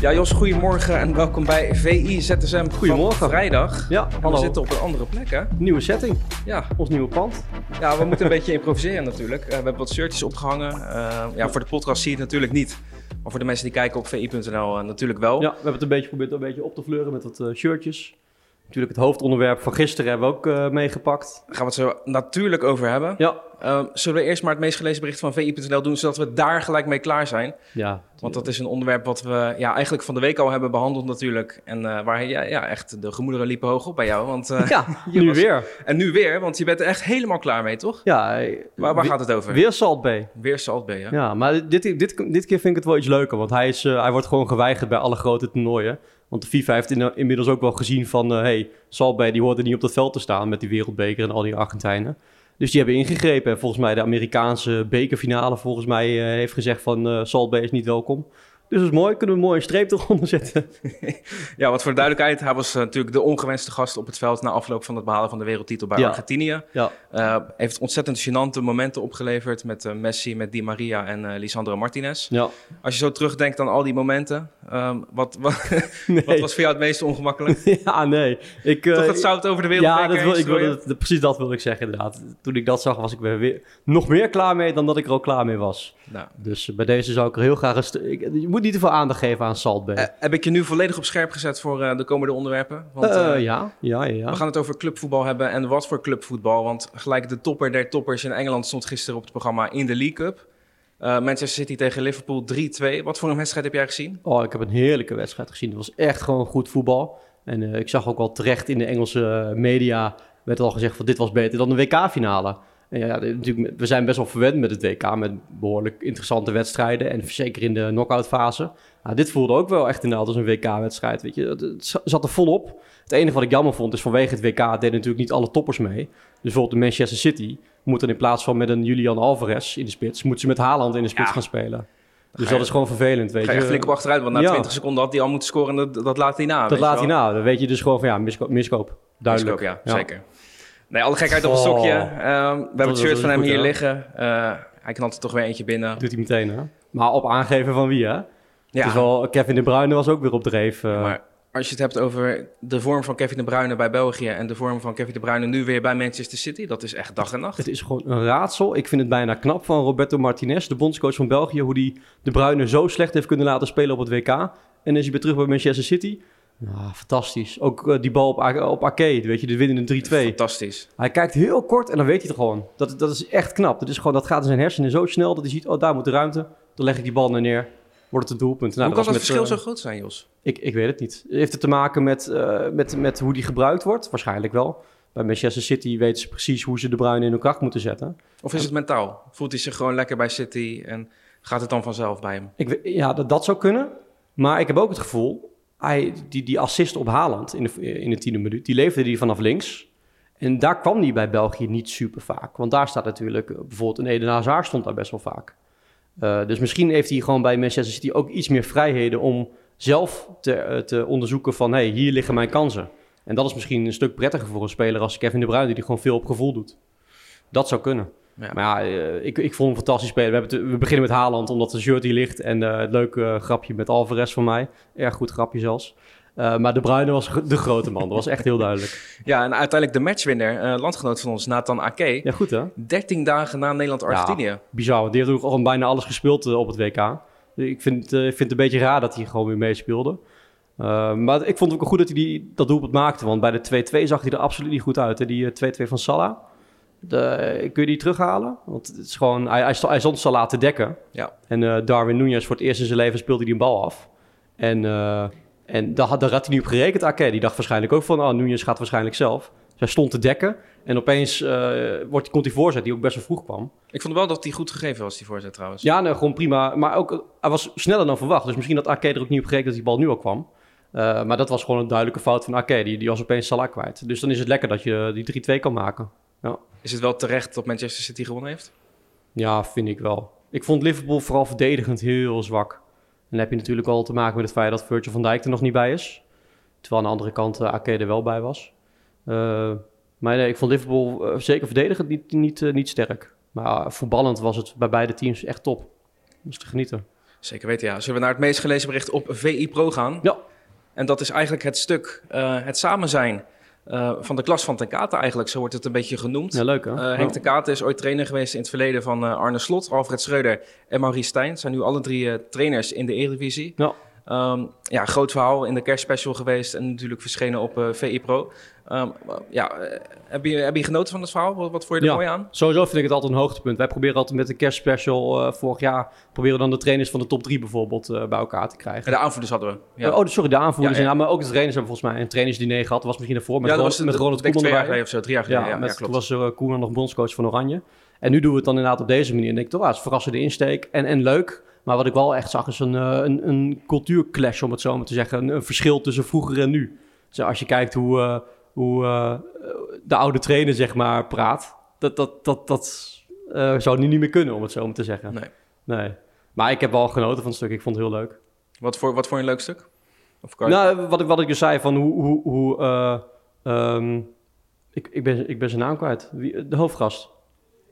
Ja, Jos, goedemorgen en welkom bij VI ZSM. Goedemorgen. Vrijdag. Ja, En hallo. We zitten op een andere plek, hè? Nieuwe setting, Ja, ons nieuwe pand. ja we moeten een beetje improviseren natuurlijk. Eh, we hebben wat shirtjes opgehangen. Eh, ja, voor de podcast zie je het natuurlijk niet. Maar voor de mensen die kijken op vi.nl eh, natuurlijk wel. Ja, we hebben het een beetje geprobeerd een beetje op te fleuren met wat eh, shirtjes. Natuurlijk het hoofdonderwerp van gisteren hebben we ook eh, meegepakt. Daar gaan we het zo natuurlijk over hebben. Ja. Eh, zullen we eerst maar het meest gelezen bericht van vi.nl doen, zodat we daar gelijk mee klaar zijn? Ja. Want dat is een onderwerp wat we ja, eigenlijk van de week al hebben behandeld natuurlijk. En eh, waar ja, ja, echt de gemoederen liepen hoog op bij jou. Want, eh, Ja, je nu was- weer. En nu weer, want je bent er echt helemaal klaar mee, toch? Ja, Waar, waar gaat het over? Weer Salt Bay. Weer Salt Bay, hè? Ja, maar dit, dit, dit keer vind ik het wel iets leuker, want hij, is, eh, hij wordt gewoon geweigerd bij alle grote toernooien. Want de FIFA heeft in- eh, inmiddels ook wel gezien van, hé, hey, Salt Bay die hoorde niet op dat veld te staan met die wereldbeker en al die Argentijnen. Dus die hebben ingegrepen en volgens mij de Amerikaanse bekerfinale volgens mij eh, heeft gezegd van, eh Salt Bay is niet welkom. Dus dat is mooi, kunnen we mooi een streep eronder zetten. Ja, wat voor de duidelijkheid, hij was eh, natuurlijk de ongewenste gast op het veld na afloop van het behalen van de wereldtitel bij Ja. Argentinië. Ja, Eh, heeft ontzettend gênante momenten opgeleverd met eh, Messi, met Di Maria en eh, Lisandro Martinez. ja. Als je zo terugdenkt aan al die momenten, ehm, wat, wat, Nee. wat was voor jou het meest ongemakkelijk? ja, nee. Ik, eh, Toch het zout over de wereld Ja, dat wil, ik wil, dat- precies dat wil ik zeggen inderdaad. Toen ik dat zag was ik er weer, nog meer klaar mee dan dat ik er al klaar mee was. Nou, Dus bij deze zou ik er heel graag... een st- ik- je moet niet te veel aandacht geven aan Salt Bay. eh, heb ik je nu volledig op scherp gezet voor eh, de komende onderwerpen? Want, Eh, eh, ja, ja, ja. ja. We gaan het over clubvoetbal hebben en wat voor clubvoetbal. Want gelijk de topper der toppers in Engeland stond gisteren op het programma in de League Cup. Eh, Manchester City tegen Liverpool 3-2. Wat voor een wedstrijd heb jij gezien? Oh, ik heb een heerlijke wedstrijd gezien. Het was echt gewoon goed voetbal. En eh, ik zag ook wel terecht in de Engelse media... werd al gezegd van dit was beter dan de WK-finale. En ja, ja, dit- natuurlijk, we zijn best wel verwend met het WK... met behoorlijk interessante wedstrijden. En zeker in de knock-outfase. Nou, dit voelde ook wel echt inderdaad als een WK-wedstrijd. Weet je. Het, het za- zat er volop. Het enige wat ik jammer vond is vanwege het WK... deden natuurlijk niet alle toppers mee. Dus bijvoorbeeld de Manchester City... moet dan in plaats van met een Julian Alvarez in de spits... moet ze met Haaland in de spits Ja. gaan spelen. Dus Ga dat je- is gewoon vervelend, weet Ga je. je echt flink op achteruit, want na Ja. 20 seconden had hij al moeten scoren. en Dat, dat laat hij na. Dat laat hij na. Dan weet je dus gewoon van ja, miskoop. miskoop. Duidelijk. ja, zeker. Nee, alle gekheid op een Oh. stokje. Ehm, we hebben het was- shirt dat van hem was hier goed, liggen. Eh, hij knalt er toch weer eentje binnen. Doet hij meteen hè. Maar op aangeven van wie hè? Ja, Dus wel, Kevin De Bruyne was ook weer op dreef. eh. maar als je het hebt over de vorm van Kevin De Bruyne bij België... en de vorm van Kevin De Bruyne nu weer bij Manchester City... dat is echt dag en nacht. Het is gewoon een raadsel. Ik vind het bijna knap van Roberto Martinez, de bondscoach van België, hoe die De Bruyne zo slecht heeft kunnen laten spelen op het WK. En is hij weer terug bij Manchester City. Nou, fantastisch. Ook eh, die bal op, Ar- op Arcade, weet je, de winnende 3-2. Fantastisch. Hij kijkt heel kort en dan weet hij het gewoon. Dat, dat is echt knap. Dat, is gewoon, dat gaat in zijn hersenen zo snel dat hij ziet, oh daar moet de ruimte. Dan leg ik die bal naar neer. Wordt het een doelpunt. Nou, Hoe kan dat was met, verschil eh, zo groot zijn, Jos? Ik, ik weet het niet. Heeft het te maken met, eh, met, met hoe die gebruikt wordt? Waarschijnlijk wel. Bij Manchester City weten ze precies hoe ze de Bruyne in hun kracht moeten zetten. Of is het mentaal? Voelt hij zich gewoon lekker bij City en gaat het dan vanzelf bij hem? Ik, we- ja, dat, dat zou kunnen. Maar ik heb ook het gevoel, hij, die, die assist op Haaland in de, in de tiende minuut, die leverde hij vanaf links. En daar kwam hij bij België niet super vaak. Want daar staat natuurlijk, eh, bijvoorbeeld een Eden Hazard stond daar best wel vaak. Eh, dus misschien heeft hij gewoon bij Manchester City ook iets meer vrijheden om zelf te, eh, te onderzoeken van, hé, hey, hier liggen mijn kansen. En dat is misschien een stuk prettiger voor een speler als Kevin De Bruyne, die gewoon veel op gevoel doet. Dat zou kunnen. Ja. Maar ja, eh, ik, ik vond hem fantastisch spelen. We, hebben het- we beginnen met Haaland, omdat de shirt hier ligt. En eh, het leuke eh, grapje met Alvarez van mij. Erg goed grapje zelfs. Eh, maar De Bruyne was gro- de grote man. Dat was echt heel duidelijk. Ja, en uiteindelijk de matchwinner, eh, landgenoot van ons, Nathan Ake. Ja, goed hè? 13 dagen na Nederland-Argentinië. Bizar, want die heeft ook al bijna alles gespeeld eh, op het WK. Ik vind, eh, ik vind het een beetje raar dat hij gewoon weer meespeelde. Eh, maar ik vond het ook goed dat hij die, dat doelpunt maakte. Want bij de 2-2 zag hij er absoluut niet goed uit. Hè? Die eh, 2-2 van Salah. De- eh, kun je die terughalen? Want het is gewoon, hij, hij, sta- hij stond Salah te dekken. Ja. En eh, Darwin Nunez voor het eerst in zijn leven speelde hij een bal af. En, eh, en daar, had, daar had hij niet op gerekend. Ake, die dacht waarschijnlijk ook van, oh, Nunez gaat waarschijnlijk zelf. Dus hij stond te dekken. En opeens eh, wordt, komt die voorzet, die ook best wel vroeg kwam. Ik vond wel dat hij goed gegeven was, die voorzet trouwens. Ja, nee, gewoon prima. Maar ook, eh, hij was sneller dan verwacht. Dus misschien dat Ake er ook niet op gerekend dat die bal nu al kwam. Eh, maar dat was gewoon een duidelijke fout van Ake. Die, die was opeens Salah kwijt. Dus dan is het lekker dat je die 3-2 kan maken. Is het wel terecht dat Manchester City gewonnen heeft? Ja, vind ik wel. Ik vond Liverpool vooral verdedigend heel zwak. En dan heb je natuurlijk al te maken met het feit dat Virgil van Dijk er nog niet bij is. Terwijl aan de andere kant eh, Ake er wel bij was. Eh, maar nee, ik vond Liverpool eh, zeker verdedigend niet, eh, niet, eh, niet sterk. Maar voetballend was het bij beide teams echt top. Moest te genieten. Zeker weten, ja. Zullen we naar het meest gelezen bericht op VI Pro gaan? Ja. En dat is eigenlijk het stuk, eh, het samen zijn eh, van de klas van Ten Kate eigenlijk. Zo wordt het een beetje genoemd. Ja, leuk hè? Eh, Henk de Nou. Kaat is ooit trainer geweest in het verleden van eh, Arne Slot, Alfred Schreuder en Maurice Stijn. Zijn nu alle drie eh, trainers in de Eredivisie. Ja. Ehm, ja, groot verhaal in de kerstspecial geweest en natuurlijk verschenen op eh VI Pro. Ehm, ja, eh, heb, je, heb je genoten van het verhaal? Wat, wat vond je er Ja. mooi aan? Sowieso vind ik het altijd een hoogtepunt. Wij proberen altijd met de kerstspecial eh, vorig jaar... proberen dan de trainers van de top 3 bijvoorbeeld eh, bij elkaar te krijgen. En de aanvoerders hadden we. Ja, Eh, Oh, sorry, de aanvoerders. Ja, Ja, ja. maar ook de trainers hebben volgens mij een trainersdiner gehad. was misschien ervoor, met, ja, Ron- met Ronald denk ik Koeman twee jaar erbij. geleden of zo, drie jaar Ja, geleden. Ja, met, ja, toen klopt. was er, eh, Koeman nog bondscoach van Oranje. En nu doen we het dan inderdaad op deze manier. En denk ik, toch, ah, het is een verrassende insteek en, en leuk. Maar wat ik wel echt zag is een, eh, een, een cultuurclash, om het zo maar te zeggen. Een, een verschil tussen vroeger en nu. Dus als je kijkt hoe, eh, hoe eh, de oude trainer, zeg maar, praat. Dat, dat, dat, dat eh, zou nu niet meer kunnen, om het zo maar te zeggen. Nee. nee. Maar ik heb wel genoten van het stuk. Ik vond het heel leuk. Wat, voor, wat vond je een leuk stuk? Of kan je- Nou, wat ik, wat ik dus zei van hoe... hoe, hoe eh, ehm, ik, ik, ben, ik ben zijn naam kwijt. Wie, de hoofdgast.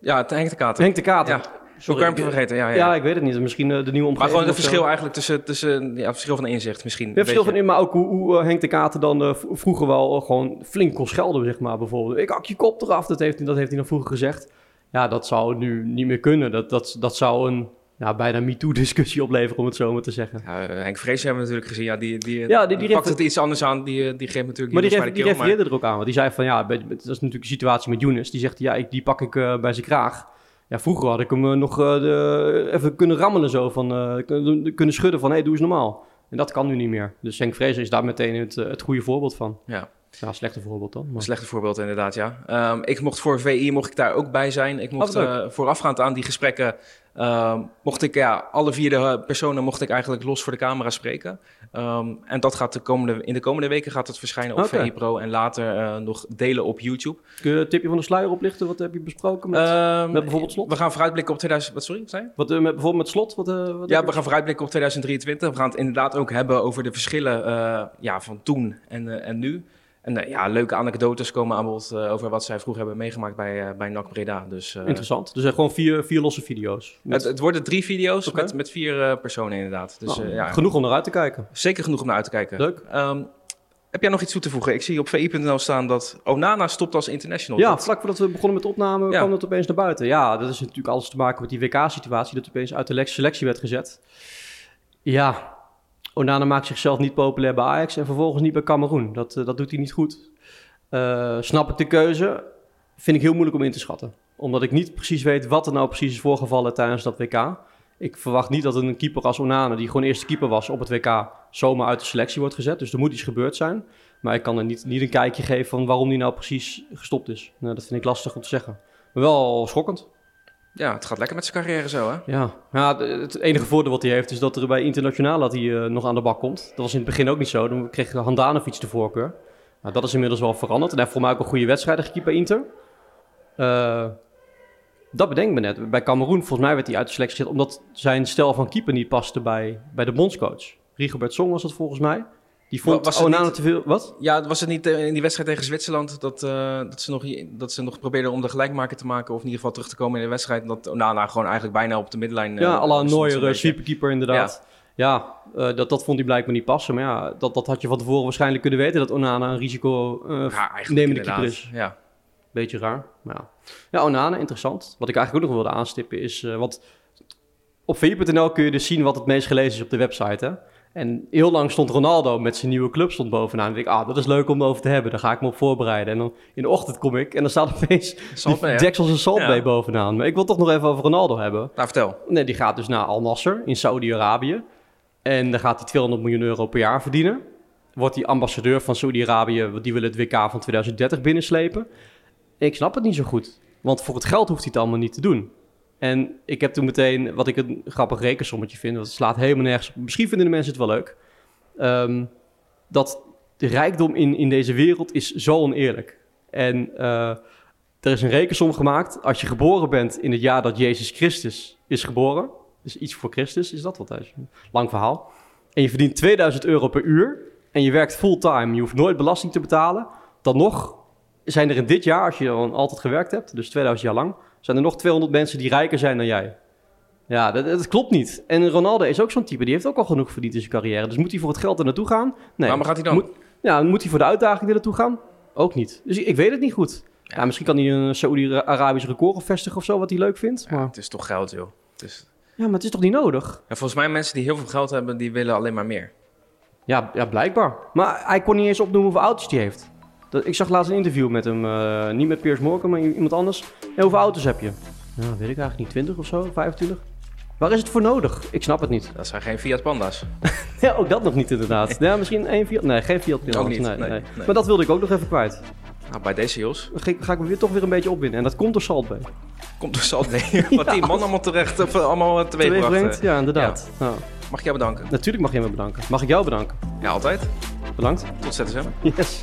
ja, het Henk de Kaat. Henk de Kater. Ja, Zo Sorry, kan je hem ik- vergeten. Ja, ja. Ja, ik weet het niet. Misschien eh, de nieuwe maar omgeving. gewoon het of zo. verschil eigenlijk tussen, tussen ja, verschil van inzicht misschien. Ja, verschil van inzicht. in, maar ook hoe, hoe eh, Henk de Kater dan eh, v- vroeger wel eh, gewoon flink kon schelden, zeg maar. Bijvoorbeeld, ik hak je kop eraf. Dat heeft, hij- dat heeft hij dan vroeger gezegd. Ja, dat zou nu niet meer kunnen. Dat, dat, dat zou een ja, bijna MeToo-discussie opleveren, om het zo maar te zeggen. Ja, eh, Henk Vrees hebben we natuurlijk gezien. Ja, die, die, Ja, die- die pakt refer- het iets anders aan. Die, eh, die geeft natuurlijk Maar die, Younes ref- bij die de keel, maar- refereerde er ook aan. Want die zei van, ja, bij- dat is natuurlijk een situatie met Younes. Die zegt, ja, ik, die pak ik eh, bij zijn kraag. Ja, vroeger had ik hem eh, nog eh, de- even kunnen rammelen zo. Van, eh, kun- kunnen schudden van, hé, hey, doe eens normaal. En dat kan nu niet meer. Dus Henk Vrezer is daar meteen het, eh, het goede voorbeeld van. Ja. Ja, slechte voorbeeld dan. Maar... Slechte voorbeeld inderdaad, ja. Ehm, ik mocht voor VI mocht ik daar ook bij zijn. Ik mocht Oh, wat eh, voorafgaand aan die gesprekken, ehm, mocht ik ja, alle vier de eh, personen mocht ik eigenlijk los voor de camera spreken. Ehm, en dat gaat de komende, in de komende weken gaat het verschijnen op Oké. VI Pro en later eh, nog delen op YouTube. Kun je een tipje van de sluier oplichten? Wat heb je besproken met, Ehm, met bijvoorbeeld Slot? We gaan vooruitblikken op 2000. Wat sorry, wat zei je? wat, eh, met, bijvoorbeeld met slot? Wat, eh, wat heb Ja, je- we gaan vooruitblikken op 2023. We gaan het inderdaad ook hebben over de verschillen eh, ja, van toen en, eh, en nu. En eh, ja, leuke anekdotes komen aan bod eh, over wat zij vroeger hebben meegemaakt bij, eh, bij NAC Breda. Dus eh, Interessant. Dus eh, gewoon vier, vier losse video's. het, Met- het worden drie video's Oké. met, met vier eh, personen inderdaad. Dus nou, eh, ja, Genoeg om naar uit te kijken. zeker genoeg om naar uit te kijken. Leuk. Ehm, heb jij nog iets toe te voegen? Ik zie op vi.nl staan dat Onana stopt als international. Ja, Dat- vlak voordat we begonnen met de opname Ja. kwam dat opeens naar buiten. Ja, dat is natuurlijk alles te maken met die WK-situatie, dat opeens uit de le- selectie werd gezet. Ja, Onana maakt zichzelf niet populair bij Ajax en vervolgens niet bij Cameroen. Dat, eh, dat doet hij niet goed. Eh, snap ik de keuze? Vind ik heel moeilijk om in te schatten. Omdat ik niet precies weet wat er nou precies is voorgevallen tijdens dat WK. Ik verwacht niet dat een keeper als Onana, die gewoon eerste keeper was op het WK, zomaar uit de selectie wordt gezet. Dus er moet iets gebeurd zijn. Maar ik kan er niet, niet een kijkje geven van waarom die nou precies gestopt is. Nou, dat vind ik lastig om te zeggen. Maar wel schokkend. ja, het gaat lekker met zijn carrière zo, hè? Ja, ja de- het enige voordeel wat hij heeft is dat er bij internationaal dat hij eh, nog aan de bak komt. Dat was in het begin ook niet zo. Dan kreeg Handanovic de voorkeur. Nou, dat is inmiddels wel veranderd. En hij heeft voor mij ook een goede wedstrijd gekiept bij Inter. Eh, dat bedenk ik me net. Bij Cameroen, volgens mij werd hij uit de selectie gezet... omdat zijn stijl van keeper niet paste bij, bij de bondscoach. Rigobert Song was dat volgens mij. Die vond Was het Onana niet- te veel... Wat? Ja, was het niet eh, in die wedstrijd tegen Zwitserland dat, eh, dat, ze nog, dat ze nog probeerden om de gelijkmaker te maken of in ieder geval terug te komen in de wedstrijd? Dat Onana gewoon eigenlijk bijna op de middenlijn... eh, Ja, à la stond zo'n Neuer, eh, beetje. superkeeper inderdaad. Ja, eh, dat, dat vond hij blijkbaar niet passen. Maar ja, dat, dat had je van tevoren waarschijnlijk kunnen weten... dat Onana een risico eh Ja, eigenlijk nemende inderdaad. keeper is. Ja. Beetje raar, maar ja. Ja, Onana, interessant. Wat ik eigenlijk ook nog wilde aanstippen is... eh, want op vi.nl kun je dus zien wat het meest gelezen is op de website, hè. En heel lang stond Ronaldo met zijn nieuwe club stond bovenaan. En ik, ah, dat is leuk om over te hebben. Daar ga ik me op voorbereiden. En dan in de ochtend kom ik en dan staat opeens Saltbay, hè? die Jackson en Salt Ja. bovenaan. Maar ik wil toch nog even over Ronaldo hebben. Nou, vertel. Nee, die gaat dus naar Al Nasser in Saudi-Arabië. En daar gaat hij 200 miljoen euro per jaar verdienen. Wordt hij ambassadeur van Saudi-Arabië, want die willen het WK van 2030 binnenslepen. Ik snap het niet zo goed, want voor het geld hoeft hij het allemaal niet te doen. En ik heb toen meteen, wat ik een grappig rekensommetje vind, want het slaat helemaal nergens op. Misschien vinden de mensen het wel leuk. ehm, dat de rijkdom in, in deze wereld is zo oneerlijk. En eh, er is een rekensom gemaakt. Als je geboren bent in het jaar dat Jezus Christus is geboren, dus iets voor Christus, is dat wat thuis? Lang verhaal. En je verdient 2000 euro per uur en je werkt fulltime, je hoeft nooit belasting te betalen. Dan nog zijn er in dit jaar, als je dan altijd gewerkt hebt, dus 2000 jaar lang, zijn er nog 200 mensen die rijker zijn dan jij. Ja, dat, dat klopt niet. En Ronaldo is ook zo'n type. Die heeft ook al genoeg verdiend in zijn carrière. Dus moet hij voor het geld er naartoe gaan? Nee. Maar waar gaat hij dan? Moet, ja, moet hij voor de uitdaging er naartoe gaan? Ook niet. Dus ik, ik weet het niet goed. Ja. misschien kan hij een Saoedi-Arabisch record vestigen of zo, wat hij leuk vindt. Ja, Maar, het is toch geld, joh. Het is... ja, maar het is toch niet nodig? En volgens mij mensen die heel veel geld hebben, die willen alleen maar meer. Ja, ja, blijkbaar. Maar hij kon niet eens opnoemen hoeveel auto's hij heeft. Dat, ik zag laatst een interview met hem, eh, niet met Piers Morgan, maar i- iemand anders. En hoeveel auto's heb je? Nou, weet ik eigenlijk niet, 20 of zo, 25? Waar is het voor nodig? Ik snap het niet. Dat zijn geen Fiat Panda's. Ja, ook dat nog niet inderdaad. Ja, misschien één Fiat, nee, geen Fiat Pina's. Ook niet, nee, nee, nee. Maar dat wilde ik ook nog even kwijt. Nou, bij deze, Jos, Dan ga ik, ga ik me weer, toch weer een beetje opwinden. En dat komt door Salt Bay. komt er zal nee, wat die man allemaal terecht, of eh, allemaal eh, teweeg bracht. eh. Ja, inderdaad. Nou, Mag ik jou bedanken? natuurlijk mag jij me bedanken. Mag ik jou bedanken? Ja, altijd. Bedankt. Tot zetten, hè. Yes.